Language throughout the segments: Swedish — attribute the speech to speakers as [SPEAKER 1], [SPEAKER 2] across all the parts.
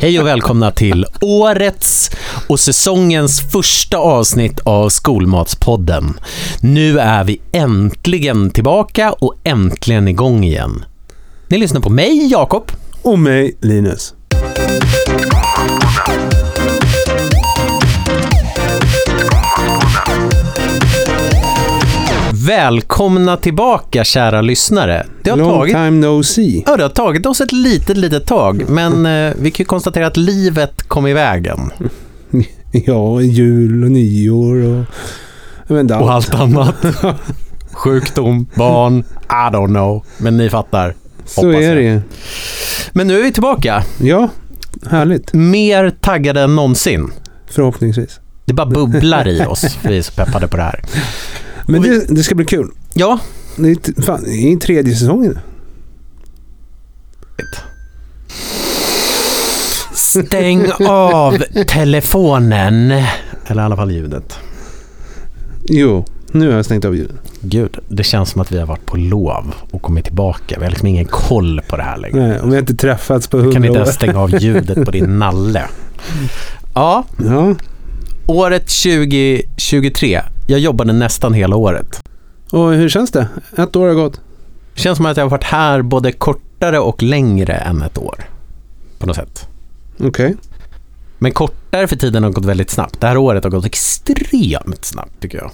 [SPEAKER 1] Hej och välkomna till årets och säsongens första avsnitt av Skolmatspodden. Nu är vi äntligen tillbaka och äntligen igång igen. Ni lyssnar på mig, Jakob.
[SPEAKER 2] Och mig, Linus.
[SPEAKER 1] Välkomna tillbaka, kära lyssnare. Det har
[SPEAKER 2] Long
[SPEAKER 1] tagit
[SPEAKER 2] time no see.
[SPEAKER 1] Ja, det har tagit oss ett litet, litet tag, men eh, vi kan ju konstatera att livet kom i vägen.
[SPEAKER 2] Ja, jul och nyår och... Jag vet inte
[SPEAKER 1] Och
[SPEAKER 2] allt.
[SPEAKER 1] allt annat. Sjukdom, barn, I don't know. Men ni fattar.
[SPEAKER 2] Så
[SPEAKER 1] hoppas
[SPEAKER 2] är
[SPEAKER 1] jag.
[SPEAKER 2] det
[SPEAKER 1] Men nu är vi tillbaka.
[SPEAKER 2] Ja, härligt.
[SPEAKER 1] Mer taggade än någonsin.
[SPEAKER 2] Förhoppningsvis.
[SPEAKER 1] Det bara bubblar i oss. Vi är så peppade på det här.
[SPEAKER 2] Men
[SPEAKER 1] Och vi-
[SPEAKER 2] det, det ska bli kul.
[SPEAKER 1] Ja.
[SPEAKER 2] Det är, t- fan, det är tredje säsongen.
[SPEAKER 1] Stäng av telefonen. Eller i alla fall ljudet.
[SPEAKER 2] Jo, nu har jag stängt av ljudet.
[SPEAKER 1] Gud, det känns som att vi har varit på lov och kommit tillbaka. Vi har liksom ingen koll på det här längre.
[SPEAKER 2] Nej, om vi har inte träffats på
[SPEAKER 1] Kan
[SPEAKER 2] hundra
[SPEAKER 1] inte
[SPEAKER 2] år.
[SPEAKER 1] ens stänga av ljudet på din nalle. Ja,
[SPEAKER 2] Ja,
[SPEAKER 1] året 2023. Jag jobbade nästan hela året.
[SPEAKER 2] och hur känns det? Ett år har gått.
[SPEAKER 1] Känns som att jag har varit här både kortare och längre än ett år. På något sätt.
[SPEAKER 2] Okej.
[SPEAKER 1] Men kortare för tiden har gått väldigt snabbt. Det här året har gått extremt snabbt tycker jag.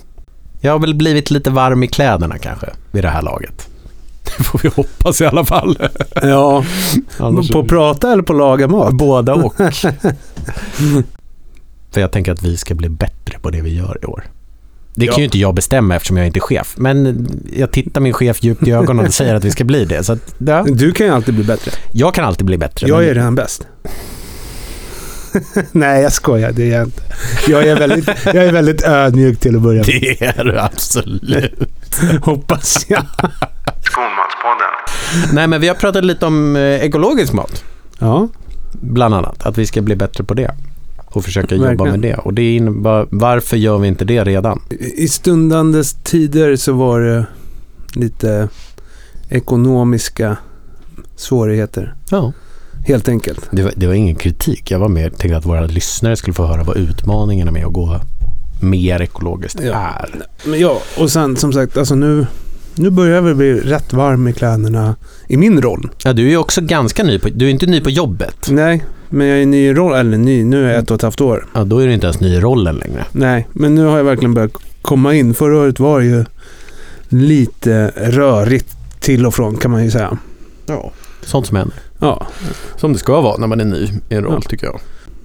[SPEAKER 1] Jag har väl blivit lite varm i kläderna kanske vid det här laget. Det får vi hoppas i alla fall.
[SPEAKER 2] Ja,
[SPEAKER 1] Annars-
[SPEAKER 2] på att prata eller på att laga mat?
[SPEAKER 1] Båda och. För jag tänker att vi ska bli bättre på det vi gör i år. Det kan
[SPEAKER 2] Ja.
[SPEAKER 1] ju inte jag bestämma eftersom jag inte är chef. Men jag tittar min chef djupt i ögonen och säger att vi ska bli det. Så att, ja.
[SPEAKER 2] Du kan ju alltid bli bättre.
[SPEAKER 1] Jag kan alltid bli bättre.
[SPEAKER 2] Jag
[SPEAKER 1] men-
[SPEAKER 2] är redan bäst. Nej, jag skojar. Det är jag inte. Jag är väldigt, jag är väldigt ödmjuk till att börja med.
[SPEAKER 1] Det är du absolut.
[SPEAKER 2] Hoppas jag.
[SPEAKER 3] Skolmatspodden.
[SPEAKER 1] Nej, men vi har pratat lite om eh, ekologisk mat,
[SPEAKER 2] Ja,
[SPEAKER 1] bland annat. Att vi ska bli bättre på det och försöka jobba
[SPEAKER 2] Verkligen.
[SPEAKER 1] med det. Och det innebär, varför gör vi inte det redan?
[SPEAKER 2] i stundandes tider så var det lite ekonomiska svårigheter.
[SPEAKER 1] Ja.
[SPEAKER 2] Helt enkelt.
[SPEAKER 1] Det var, det var ingen kritik. Jag var mer tänkte att våra lyssnare skulle få höra vad utmaningarna med att gå mer ekologiskt
[SPEAKER 2] Ja.
[SPEAKER 1] är.
[SPEAKER 2] Men ja, och sen som sagt, alltså nu, nu börjar vi bli rätt varm i kläderna i min roll.
[SPEAKER 1] Ja, du är ju också ganska ny på, du är inte ny på jobbet.
[SPEAKER 2] Nej, men jag är ny i roll, eller ny, nu är jag ett och ett halvt år.
[SPEAKER 1] Ja, då är du inte ens ny i rollen längre.
[SPEAKER 2] Nej, men nu har jag verkligen börjat komma in. Förra året var det ju lite rörigt till och från kan man ju säga.
[SPEAKER 1] Ja. Sånt som händer.
[SPEAKER 2] Ja,
[SPEAKER 1] Som det ska vara när man är ny i en roll, tycker jag.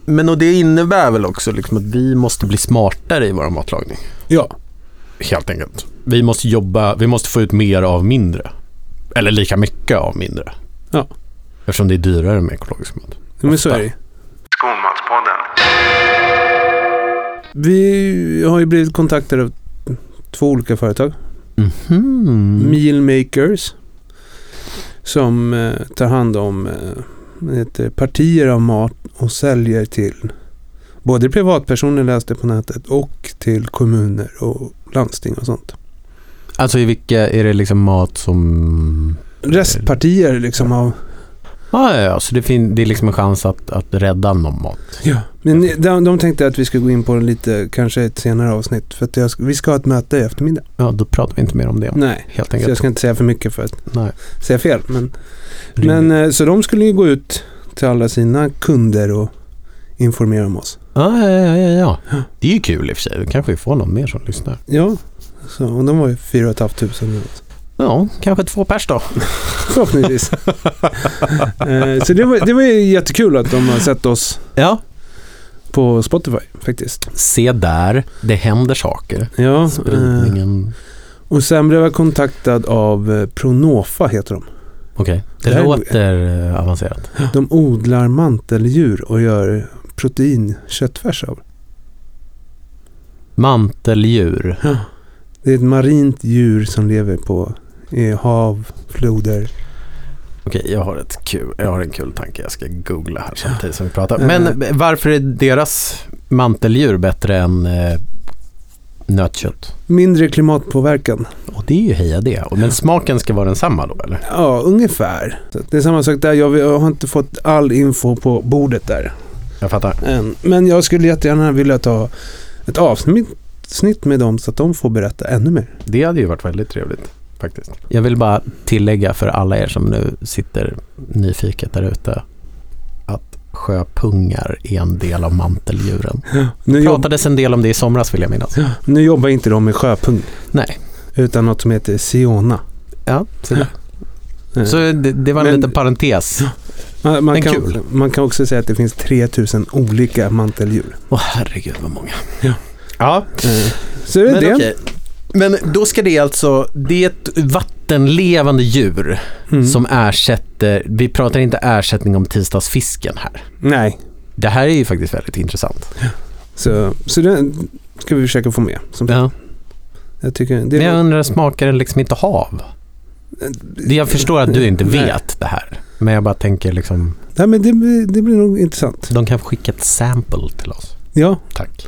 [SPEAKER 1] Men och det innebär väl också liksom att vi måste bli smartare i vår matlagning,
[SPEAKER 2] ja.
[SPEAKER 1] helt enkelt. Vi måste jobba, vi måste få ut mer av mindre. Eller lika mycket av mindre.
[SPEAKER 2] Ja.
[SPEAKER 1] Eftersom det är dyrare med ekologisk mat.
[SPEAKER 2] men så är det ju.
[SPEAKER 3] Skolmatspodden.
[SPEAKER 2] Vi har ju blivit kontaktade av två olika företag.
[SPEAKER 1] Mhm.
[SPEAKER 2] Mealmakers. Som eh, tar hand om eh, vad heter det, partier av mat och säljer till både privatpersoner läste jag på nätet och till kommuner och landsting och sånt.
[SPEAKER 1] Alltså i vilka, är det liksom mat som...
[SPEAKER 2] Restpartier liksom av
[SPEAKER 1] Ah, ja, ja, så det, fin- det är liksom en chans att, att rädda någon mat.
[SPEAKER 2] Ja, men de, de tänkte att vi skulle gå in på det lite, kanske ett senare avsnitt. För att jag, ska- vi ska ha ett möte i eftermiddag.
[SPEAKER 1] Ja, då pratar vi inte mer om det.
[SPEAKER 2] Nej,
[SPEAKER 1] Helt
[SPEAKER 2] så jag
[SPEAKER 1] enkelt.
[SPEAKER 2] ska inte säga för mycket för att
[SPEAKER 1] Nej.
[SPEAKER 2] säga fel. Men, men eh, så de skulle ju gå ut till alla sina kunder och informera om oss.
[SPEAKER 1] Ah, ja, ja, ja, ja. Det är ju kul i och för sig. Då kanske vi får någon mer som lyssnar.
[SPEAKER 2] Ja, så, och de var ju 4 500 eller något.
[SPEAKER 1] Ja, kanske två pers då.
[SPEAKER 2] Förhoppningsvis. Eh, så det var, det var ju jättekul att de har sett oss
[SPEAKER 1] Ja.
[SPEAKER 2] på Spotify faktiskt.
[SPEAKER 1] Se där, det händer saker.
[SPEAKER 2] Ja, eh,
[SPEAKER 1] Spridningen.
[SPEAKER 2] och sen blev jag kontaktad av eh, Pronofa heter de.
[SPEAKER 1] Okej,
[SPEAKER 2] det
[SPEAKER 1] det
[SPEAKER 2] här-
[SPEAKER 1] låter eh, avancerat.
[SPEAKER 2] De odlar manteldjur och gör proteinköttfärs av.
[SPEAKER 1] Manteldjur.
[SPEAKER 2] Det är ett marint djur som lever på i hav, floder.
[SPEAKER 1] Okej, jag har ett kul, jag har en kul tanke. Jag ska googla här samtidigt som vi Mm. pratar. Men varför är deras manteldjur bättre än eh, Nötkött.
[SPEAKER 2] Mindre klimatpåverkan.
[SPEAKER 1] Och det är ju heja det. Men smaken ska vara densamma då eller?
[SPEAKER 2] Ja, ungefär. Så att det är samma sak där. Jag, jag har inte fått all info på bordet där
[SPEAKER 1] Jag fattar.
[SPEAKER 2] än. Men jag skulle jättegärna vilja ta ett avsnitt snitt med dem så att de får berätta ännu mer.
[SPEAKER 1] Det hade ju varit väldigt trevligt faktiskt. Jag vill bara tillägga för alla er som nu sitter nyfiket där ute att sjöpungar är en del av manteldjuren.
[SPEAKER 2] Nu,
[SPEAKER 1] Det
[SPEAKER 2] jobb,
[SPEAKER 1] pratades en del om det i somras vill jag minnas.
[SPEAKER 2] nu jobbar inte de med sjöpung
[SPEAKER 1] Nej.
[SPEAKER 2] utan något som heter siona.
[SPEAKER 1] Ja, så, där.
[SPEAKER 2] Eh,
[SPEAKER 1] så det, det var en
[SPEAKER 2] Men-
[SPEAKER 1] liten parentes.
[SPEAKER 2] man, man,
[SPEAKER 1] men
[SPEAKER 2] kan,
[SPEAKER 1] kul.
[SPEAKER 2] man kan också säga att det finns 3000 olika manteldjur.
[SPEAKER 1] Åh herregud vad många.
[SPEAKER 2] Ja.
[SPEAKER 1] ja.
[SPEAKER 2] Eh, Så det är
[SPEAKER 1] Men,
[SPEAKER 2] det.
[SPEAKER 1] okej. Men då ska det alltså, det är ett vattenlevande djur
[SPEAKER 2] Mm.
[SPEAKER 1] som ersätter, vi pratar inte ersättning om tisdagsfisken här.
[SPEAKER 2] Nej,
[SPEAKER 1] Det här är ju faktiskt väldigt intressant.
[SPEAKER 2] så, så den ska vi försöka få med. Som
[SPEAKER 1] Ja.
[SPEAKER 2] jag tycker det
[SPEAKER 1] Men
[SPEAKER 2] är
[SPEAKER 1] jag undrar, smakar den liksom inte hav? Det- Jag förstår att du inte
[SPEAKER 2] Nej.
[SPEAKER 1] vet det här. Men jag bara tänker liksom,
[SPEAKER 2] Nej, men det, blir- det blir nog intressant.
[SPEAKER 1] de kan skicka ett sample till oss.
[SPEAKER 2] Ja,
[SPEAKER 1] Tack.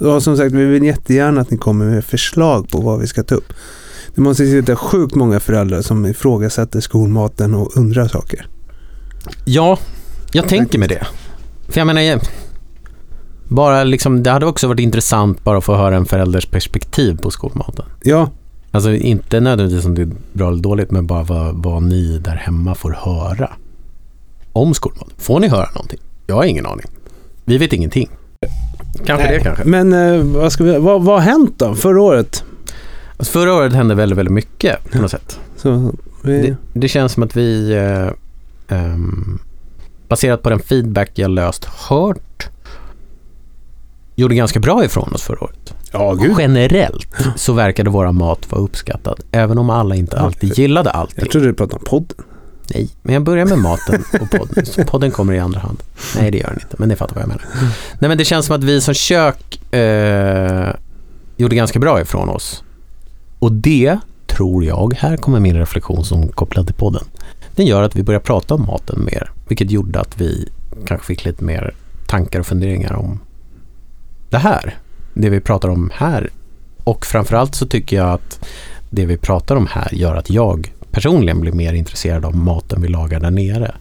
[SPEAKER 2] och som sagt, vi vill jättegärna att ni kommer med förslag på vad vi ska ta upp. Det måste sitta sjukt många föräldrar som ifrågasätter skolmaten och undrar saker.
[SPEAKER 1] Ja, jag tänker med det. För jag menar, jag- bara liksom, det hade också varit intressant bara att få höra en förälders perspektiv på skolmaten.
[SPEAKER 2] Ja,
[SPEAKER 1] Alltså inte nödvändigtvis om det är bra eller dåligt, men bara vad, vad ni där hemma får höra om skolmaten. Får ni höra någonting? Jag har ingen aning. Vi vet ingenting. Kanske
[SPEAKER 2] Nej.
[SPEAKER 1] det kanske.
[SPEAKER 2] men eh, vad, ska vi, vad, vad har hänt då förra året?
[SPEAKER 1] Alltså, förra året hände väldigt, väldigt mycket på något sätt.
[SPEAKER 2] Så, vi,
[SPEAKER 1] Det, det känns som att vi, eh, ehm, baserat på den feedback jag löst hört, gjorde ganska bra ifrån oss förra året.
[SPEAKER 2] ja,
[SPEAKER 1] Generellt så verkade våra mat vara uppskattad, även om alla inte
[SPEAKER 2] Ja,
[SPEAKER 1] alltid
[SPEAKER 2] för-
[SPEAKER 1] gillade allting.
[SPEAKER 2] Jag trodde du pratade om podden.
[SPEAKER 1] Nej, men jag börjar med maten och podden. Så podden kommer i andra hand. Nej, det gör den inte, men ni fattar vad jag menar. Nej, men det känns som att vi som kök eh, gjorde ganska bra ifrån oss. Och det tror jag, här kommer min reflektion som kopplad till podden. Den gör att vi börjar prata om maten mer, vilket gjorde att vi kanske fick lite mer tankar och funderingar om det här. Det vi pratar om här. Och framförallt så tycker jag att det vi pratar om här gör att jag personligen blir mer intresserad av maten vi lagar där nere.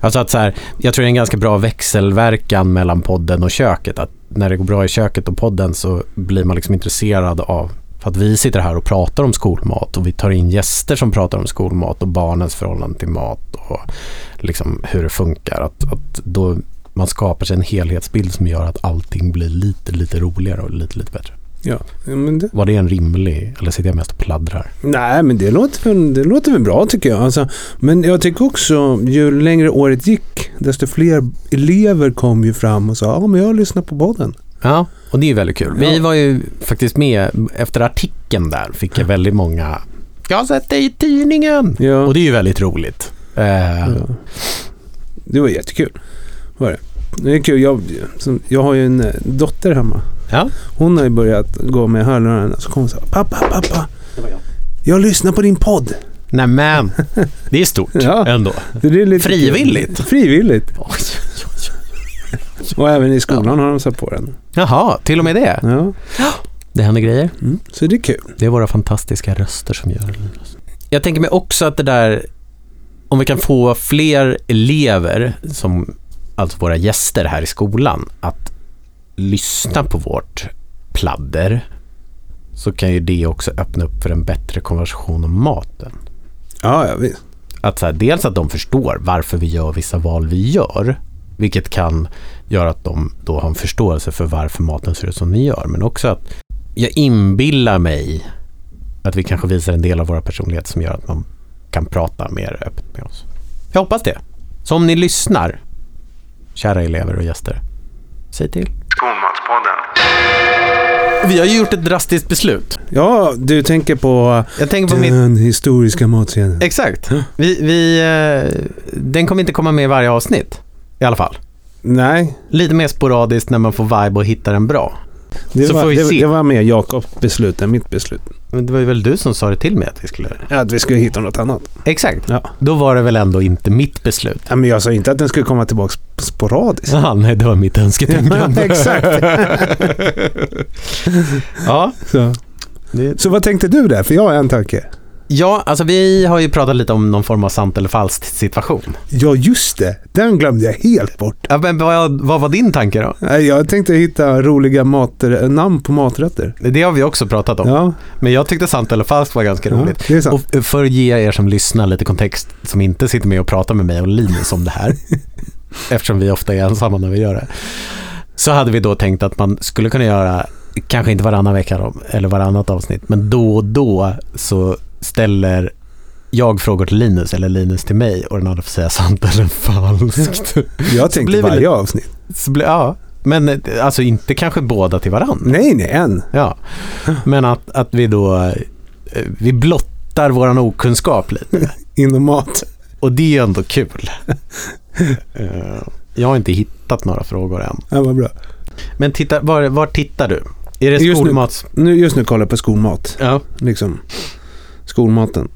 [SPEAKER 1] Alltså att så här, jag tror det är en ganska bra växelverkan mellan podden och köket. Att när det går bra i köket och podden så blir man liksom intresserad av för att vi sitter här och pratar om skolmat och vi tar in gäster som pratar om skolmat och barnens förhållande till mat och liksom hur det funkar. Att, att då man skapar sig en helhetsbild som gör att allting blir lite, lite roligare och lite, lite bättre.
[SPEAKER 2] Ja, ja, men det,
[SPEAKER 1] Var det en rimlig, eller sitter jag mest och pladdrar?
[SPEAKER 2] nej, men det låter, väl- det låter väl bra tycker jag. Alltså, men jag tycker också, ju längre året gick, desto fler elever kom ju fram och sa ja, men jag lyssnar på podden.
[SPEAKER 1] Ja, och det är ju väldigt kul. Vi
[SPEAKER 2] Ja.
[SPEAKER 1] var ju faktiskt med, efter artikeln där fick jag väldigt många “Jag har sett dig i tidningen!”
[SPEAKER 2] Ja.
[SPEAKER 1] Och det är ju väldigt roligt. Eh,
[SPEAKER 2] Ja. Det var jättekul. Var det. det är kul. Jag, som- jag har ju en eh, dotter hemma.
[SPEAKER 1] Ja.
[SPEAKER 2] Hon har ju börjat gå med hörlurarna. Så kommer hon så här, pappa, pappa. Jag lyssnar på din podd.
[SPEAKER 1] Nämen, det är stort
[SPEAKER 2] Ja.
[SPEAKER 1] ändå.
[SPEAKER 2] Så det är lite kul.
[SPEAKER 1] Frivilligt.
[SPEAKER 2] Frivilligt.
[SPEAKER 1] Oj, oj, oj.
[SPEAKER 2] Och även i skolan har de satt på den.
[SPEAKER 1] Jaha, till och med det.
[SPEAKER 2] Ja.
[SPEAKER 1] Det händer grejer.
[SPEAKER 2] Mm. Så det är kul.
[SPEAKER 1] Det är våra fantastiska röster som gör det. Jag tänker mig också att det där, om vi kan få fler elever, som alltså våra gäster här i skolan, att lyssna på vårt pladder, så kan ju det också öppna upp för en bättre konversation om maten.
[SPEAKER 2] Ja, ja visst.
[SPEAKER 1] Att så här, dels att de förstår varför vi gör vissa val vi gör, vilket kan göra att de då har en förståelse för varför maten ser ut som den gör. Men också att jag inbillar mig att vi kanske visar en del av våra personligheter som gör att man kan prata mer öppet med oss. Jag hoppas det. Så om ni lyssnar, kära elever och gäster, säg till.
[SPEAKER 3] Skolmatspodden.
[SPEAKER 1] Vi har ju gjort ett drastiskt beslut.
[SPEAKER 2] Ja, du tänker på
[SPEAKER 1] Jag tänker på mitt
[SPEAKER 2] den historiska matsedeln.
[SPEAKER 1] Exakt. Vi, vi, eh, den kommer inte komma med i varje avsnitt. I alla fall.
[SPEAKER 2] Nej,
[SPEAKER 1] Lite mer sporadiskt när man får vibe och hittar den bra.
[SPEAKER 2] det
[SPEAKER 1] Så
[SPEAKER 2] var,
[SPEAKER 1] får vi
[SPEAKER 2] det,
[SPEAKER 1] se.
[SPEAKER 2] det var mer Jakobs beslut än mitt beslut.
[SPEAKER 1] Men det var ju väl du som sa det till mig att vi skulle göra det.
[SPEAKER 2] Att vi skulle hitta något annat.
[SPEAKER 1] Exakt.
[SPEAKER 2] Ja.
[SPEAKER 1] Då var det väl ändå inte mitt beslut.
[SPEAKER 2] Ja, men jag sa inte att den skulle komma tillbaka sporadiskt.
[SPEAKER 1] Ja, nej, det var mitt önsketänkande.
[SPEAKER 2] Exakt.
[SPEAKER 1] ja,
[SPEAKER 2] Så.
[SPEAKER 1] det,
[SPEAKER 2] Så vad tänkte du där? För jag har en tanke.
[SPEAKER 1] ja, alltså vi har ju pratat lite om någon form av sant eller falskt situation.
[SPEAKER 2] Ja, just det. Den glömde jag helt bort.
[SPEAKER 1] Ja, men vad, vad var din tanke då?
[SPEAKER 2] Nej, Jag tänkte hitta roliga mater, namn på maträtter.
[SPEAKER 1] Det har vi också pratat om.
[SPEAKER 2] Ja,
[SPEAKER 1] Men jag tyckte sant eller falskt var ganska
[SPEAKER 2] ja,
[SPEAKER 1] roligt.
[SPEAKER 2] det är sant.
[SPEAKER 1] Och eh, för att ge er som lyssnar lite kontext, som inte sitter med och pratar med mig och Linus om det här, eftersom vi ofta är ensamma när vi gör det, så hade vi då tänkt att man skulle kunna göra, kanske inte varannan vecka då, eller varannat avsnitt, men då och då så ställer jag frågor till Linus eller Linus till mig och den andra får säga sant eller falskt.
[SPEAKER 2] Jag
[SPEAKER 1] blir
[SPEAKER 2] tänkte
[SPEAKER 1] vi lite-
[SPEAKER 2] varje avsnitt.
[SPEAKER 1] Så blir, ja, men eh, alltså inte kanske båda till varann.
[SPEAKER 2] Nej, nej, en.
[SPEAKER 1] Ja, men att, att vi då eh, vi blottar våran okunskap lite.
[SPEAKER 2] Inom mat.
[SPEAKER 1] Och det är ju ändå kul. Eh, Jag har inte hittat några frågor än.
[SPEAKER 2] Ja, vad bra.
[SPEAKER 1] Men titta, var, var tittar du? Är det
[SPEAKER 2] Just nu.
[SPEAKER 1] skolmats...
[SPEAKER 2] Nu, just nu kollar jag på skolmat.
[SPEAKER 1] Ja.
[SPEAKER 2] Liksom. Skolmaten.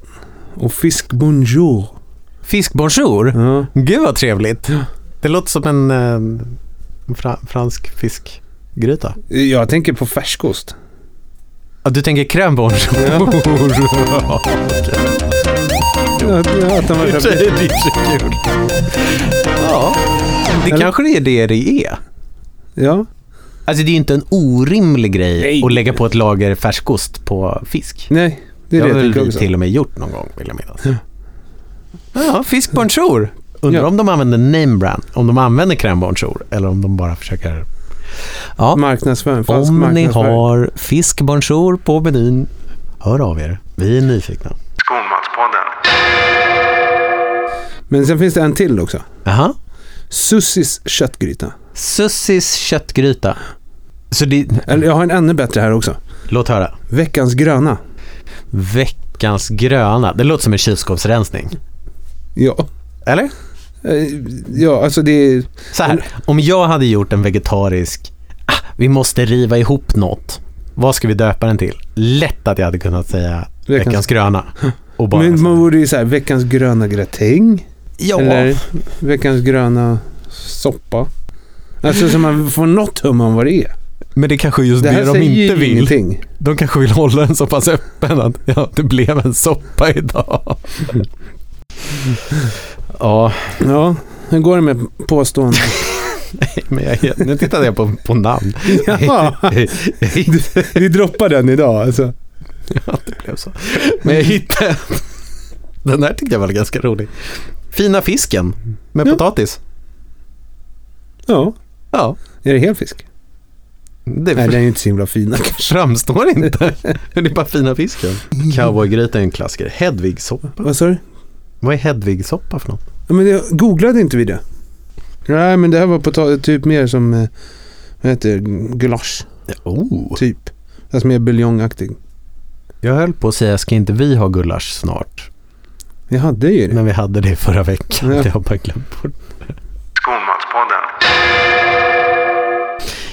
[SPEAKER 2] Och fisk bonjour.
[SPEAKER 1] Fiskbonjour?
[SPEAKER 2] Ja.
[SPEAKER 1] Gud vad trevligt. Det låter som en, eh, en fra, fransk fiskgryta.
[SPEAKER 2] Jag tänker på färskost.
[SPEAKER 1] Ja, du tänker crème bonjour?
[SPEAKER 2] Ja, ja, att de var
[SPEAKER 1] Det
[SPEAKER 2] så-
[SPEAKER 1] är ju så kul. Ja, det
[SPEAKER 2] Eller?
[SPEAKER 1] kanske är det det är.
[SPEAKER 2] ja.
[SPEAKER 1] Alltså det är inte en orimlig grej
[SPEAKER 2] Nej.
[SPEAKER 1] att lägga på ett lager färskost på fisk.
[SPEAKER 2] Nej,
[SPEAKER 1] Det
[SPEAKER 2] det är
[SPEAKER 1] har
[SPEAKER 2] det jag
[SPEAKER 1] väl
[SPEAKER 2] tänker
[SPEAKER 1] vi
[SPEAKER 2] också.
[SPEAKER 1] till och med gjort någon gång, vill jag minnas. Ja, fisk bonjour. Undrar
[SPEAKER 2] Ja.
[SPEAKER 1] om de använder name brand, om de använder crème bonjour eller om de bara försöker... Ja,
[SPEAKER 2] Marknadsföring. Falsk
[SPEAKER 1] om ni
[SPEAKER 2] marknadsföring.
[SPEAKER 1] har fisk bonjour på menyn, hör av er. Vi är nyfikna.
[SPEAKER 3] Skolmatpodden.
[SPEAKER 2] Men sen finns det en till också.
[SPEAKER 1] Aha.
[SPEAKER 2] Sussis köttgryta.
[SPEAKER 1] Sussis köttgryta. Så det...
[SPEAKER 2] Eller jag har en ännu bättre här också.
[SPEAKER 1] Låt höra.
[SPEAKER 2] Veckans gröna.
[SPEAKER 1] Veckans gröna. Det låter som en kylskåpsrensning.
[SPEAKER 2] Ja.
[SPEAKER 1] Eller?
[SPEAKER 2] Eh, Ja, alltså det är...
[SPEAKER 1] Så här, om jag hade gjort en vegetarisk, ah, vi måste riva ihop något. Vad ska vi döpa den till? Lätt att jag hade kunnat säga
[SPEAKER 2] Veckans-
[SPEAKER 1] veckans, gröna. Och bara
[SPEAKER 2] men
[SPEAKER 1] så-
[SPEAKER 2] man borde ju säga veckans gröna gratäng.
[SPEAKER 1] ja,
[SPEAKER 2] Eller veckans gröna soppa. Alltså så man får något hum om vad det är.
[SPEAKER 1] men det kanske är just
[SPEAKER 2] Det
[SPEAKER 1] det,
[SPEAKER 2] här
[SPEAKER 1] de
[SPEAKER 2] säger ju
[SPEAKER 1] inte vill.
[SPEAKER 2] ingenting.
[SPEAKER 1] De kanske vill hålla den så pass öppen att ja, det blev en soppa idag. ja,
[SPEAKER 2] Ja, nu går det med påståenden.
[SPEAKER 1] men jag, nu tittade jag på, på namn.
[SPEAKER 2] ja, vi droppar den idag alltså.
[SPEAKER 1] Ja, det blev så. Men jag hittade... Den här tyckte jag var ganska rolig. Fina fisken med
[SPEAKER 2] Ja.
[SPEAKER 1] potatis.
[SPEAKER 2] Ja,
[SPEAKER 1] Ja,
[SPEAKER 2] är det hel fisk?
[SPEAKER 1] det
[SPEAKER 2] Nej, den är inte så himla fina.
[SPEAKER 1] framstår inte. Men det är bara fina fisken. Cowboygryta är en klassiker. Hedvigsoppa.
[SPEAKER 2] Vad sa du?
[SPEAKER 1] Vad är hedvigsoppa för något?
[SPEAKER 2] Ja, men det, googlade inte vi det? Nej, men det här var på typ mer som, eh, vad heter det, gulasch,
[SPEAKER 1] Oh.
[SPEAKER 2] typ. Alltså mer buljongaktig.
[SPEAKER 1] Jag höll på att säga, ska inte vi ha gulasch snart?
[SPEAKER 2] Jag hade ju det.
[SPEAKER 1] Men vi hade det förra veckan.
[SPEAKER 2] Ja.
[SPEAKER 1] Det har jag bara glömt bort.
[SPEAKER 3] Skolmatpodden.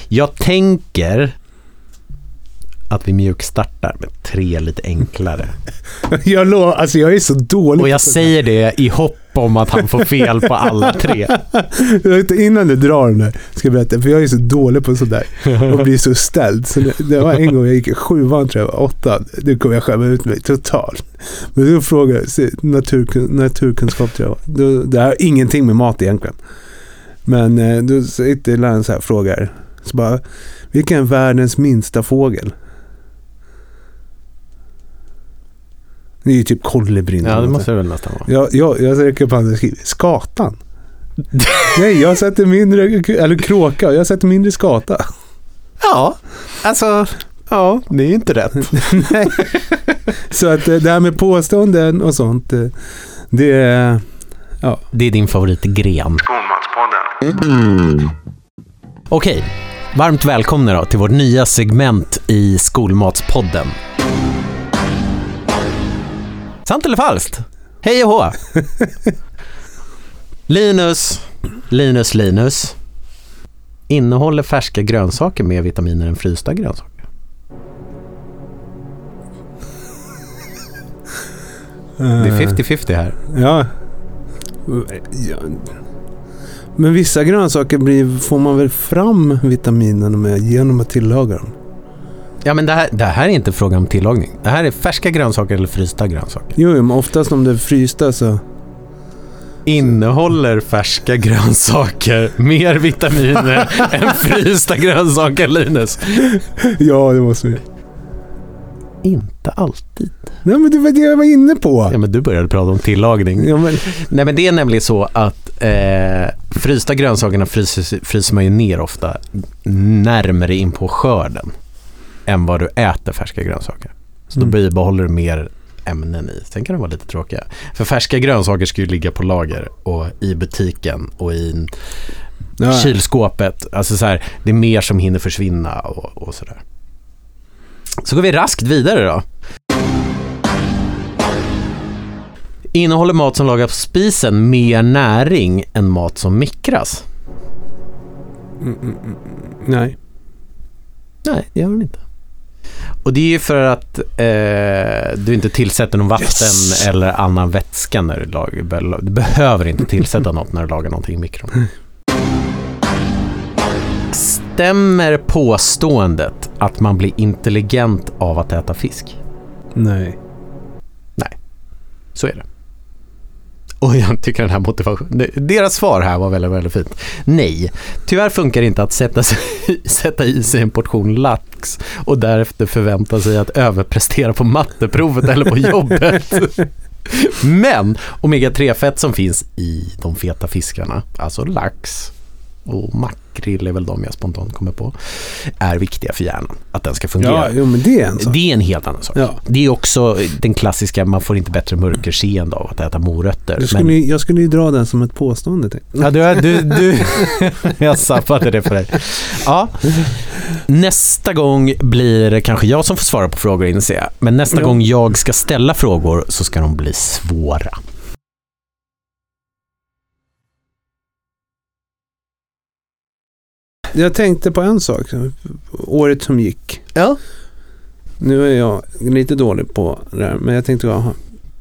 [SPEAKER 1] Jag tänker att vi mjukstartar med tre lite enklare.
[SPEAKER 2] Jag lovar, alltså jag är så dålig.
[SPEAKER 1] Och jag säger det i hopp om att han får fel på alla tre.
[SPEAKER 2] Jag vet inte, Innan du drar den här, ska jag berätta, för jag är så dålig på sådär och blir så ställd. Så det, det var en gång jag gick i sjuan tror jag, åttan, nu kommer jag skämma ut mig totalt. Men då frågade jag, så natur, naturkunskap tror jag var. då, Det här har ingenting med mat egentligen. Men eh, då sitter läraren så här och frågar, så bara, vilken är världens minsta fågel? Det är ju typ kolibrin.
[SPEAKER 1] Ja, det måste det väl nästan vara.
[SPEAKER 2] Jag, jag, jag räcker upp handen och skriver skatan. Nej, jag sätter mindre, eller kråka, jag sätter mindre skata.
[SPEAKER 1] Ja, alltså, ja, det är ju inte rätt.
[SPEAKER 2] Så att eh, det här med påståenden och sånt, eh, det är...
[SPEAKER 1] Det är din favoritgren. Mm.
[SPEAKER 3] Skolmatpodden.
[SPEAKER 1] Okej, varmt välkomna då till vårt nya segment i Skolmatspodden. Sant eller falskt? Hej och hå! Linus, Linus, Linus. Innehåller färska grönsaker mer vitaminer än frysta grönsaker? Det är 50-50 här.
[SPEAKER 2] eh, Ja. ja. Men vissa grönsaker blir, får man väl fram vitaminerna med genom att tillaga dem?
[SPEAKER 1] Ja, men det här, det här är inte fråga om tillagning. Det här är färska grönsaker eller frysta grönsaker.
[SPEAKER 2] Jo, jo, men oftast om det är frysta så...
[SPEAKER 1] Innehåller färska grönsaker mer vitaminer än frysta grönsaker, Linus?
[SPEAKER 2] Ja, det måste vi.
[SPEAKER 1] Inte alltid.
[SPEAKER 2] Nej, men det var det jag var inne på.
[SPEAKER 1] Ja, men du började prata om tillagning.
[SPEAKER 2] Ja, men,
[SPEAKER 1] Nej, men det är nämligen så att eh, frysta grönsakerna fryser, fryser man ju ner ofta närmare in på skörden än vad du äter färska grönsaker. Så då
[SPEAKER 2] Mm.
[SPEAKER 1] bibehåller du mer ämnen i. Sen kan det vara lite tråkiga. För färska grönsaker ska ju ligga på lager och i butiken och i
[SPEAKER 2] ja.
[SPEAKER 1] kylskåpet. Alltså så här, det är mer som hinner försvinna och, och sådär. Så går vi raskt vidare då. Innehåller mat som lagas på spisen mer näring än mat som mikras?
[SPEAKER 2] Mm, mm, mm, nej.
[SPEAKER 1] Nej, det gör den inte. Och det är ju för att eh, du inte tillsätter någon vatten
[SPEAKER 2] Yes!
[SPEAKER 1] eller annan vätska när du lagar. Du behöver inte tillsätta något när du lagar någonting i mikron. Stämmer påståendet att man blir intelligent av att äta fisk?
[SPEAKER 2] Nej.
[SPEAKER 1] Så är det. Och jag tycker den här motivationen, deras svar här var väldigt, väldigt fint. Nej, tyvärr funkar det inte att sätta, sig, sätta i sig en portion lax och därefter förvänta sig att överprestera på matteprovet eller på jobbet. Men omega-3-fett som finns i de feta fiskarna, alltså lax och makrill är väl de jag spontant kommer på, är viktiga för hjärnan. Att den ska fungera.
[SPEAKER 2] Ja, jo, men det är en sak.
[SPEAKER 1] Det är en helt annan sak.
[SPEAKER 2] Ja.
[SPEAKER 1] Det är också den klassiska, man får inte bättre mörkerseende av att äta morötter.
[SPEAKER 2] Jag skulle,
[SPEAKER 1] Men,
[SPEAKER 2] ju- jag skulle ju dra den som ett påstående. Till.
[SPEAKER 1] ja, du, du, du, jag sappade det för dig. Ja. Nästa gång blir det kanske jag som får svara på frågor inser jag. Men nästa
[SPEAKER 2] Ja.
[SPEAKER 1] gång jag ska ställa frågor så ska de bli svåra.
[SPEAKER 2] Jag tänkte på en sak. Året som gick.
[SPEAKER 1] Ja.
[SPEAKER 2] Nu är jag lite dålig på det här, men jag tänkte, jaha.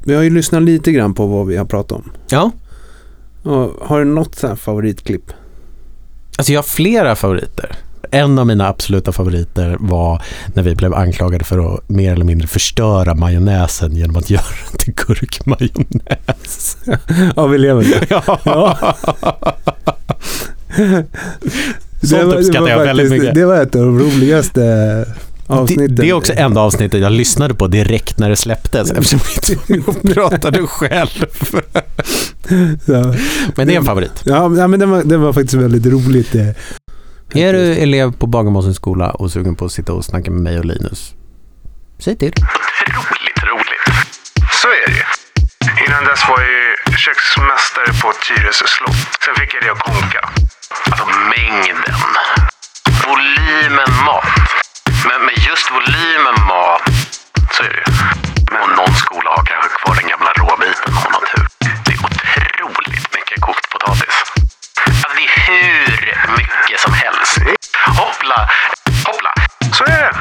[SPEAKER 2] Vi har ju lyssnat lite grann på vad vi har pratat om.
[SPEAKER 1] ja.
[SPEAKER 2] Och har du något så här favoritklipp?
[SPEAKER 1] Alltså jag har flera favoriter. En av mina absoluta favoriter var när vi blev anklagade för att mer eller mindre förstöra majonnäsen genom att göra den till gurkmajonnäs.
[SPEAKER 2] Ja, vi lever nu.
[SPEAKER 1] Ja.
[SPEAKER 2] Det
[SPEAKER 1] Sånt
[SPEAKER 2] var- det
[SPEAKER 1] uppskattar
[SPEAKER 2] var
[SPEAKER 1] jag väldigt
[SPEAKER 2] faktiskt-
[SPEAKER 1] mycket.
[SPEAKER 2] Det var ett av de roligaste
[SPEAKER 1] Det,
[SPEAKER 2] avsnitten.
[SPEAKER 1] det är också enda avsnittet jag lyssnade på direkt när det släpptes eftersom jag inte var med och pratade själv.
[SPEAKER 2] Så,
[SPEAKER 1] Men det är en favorit.
[SPEAKER 2] Ja, men- ja, men det var, det var faktiskt väldigt roligt. eh. det.
[SPEAKER 1] Är du elev på Bagarmossens skola och sugen på att sitta och snacka med mig och Linus? Säg till.
[SPEAKER 3] Roligt, roligt. Så är det ju. Innan dess var jag ju köksmästare på Tyresö slott. Sen fick jag det att konka. Alltså mängden. Volymen mat. Men med just volymen mat så är det ju. Men någon skola har kanske kvar den gamla råbiten om man har tur. Det är otroligt mycket kokt potatis. Alltså det är hur mycket som helst. Hoppla, hoppla. Så är det.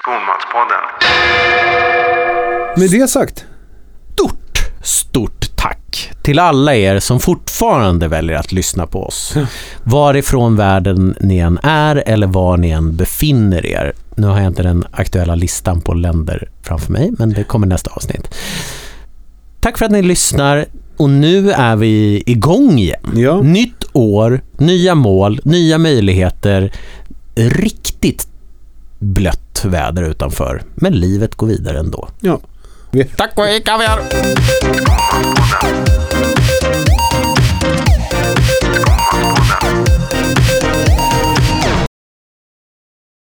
[SPEAKER 3] Skolmatspodden.
[SPEAKER 2] Med det sagt.
[SPEAKER 1] stort, stort tack till alla er som fortfarande väljer att lyssna på oss. Varifrån världen ni än är eller var ni än befinner er. Nu har jag inte den aktuella listan på länder framför mig, men det kommer nästa avsnitt. Tack för att ni lyssnar och nu är vi igång igen.
[SPEAKER 2] Ja.
[SPEAKER 1] Nytt år, nya mål, nya möjligheter. Riktigt blött väder utanför, men livet går vidare ändå.
[SPEAKER 2] ja.
[SPEAKER 1] Tack och hej kaviar!
[SPEAKER 3] Skolmatspodden.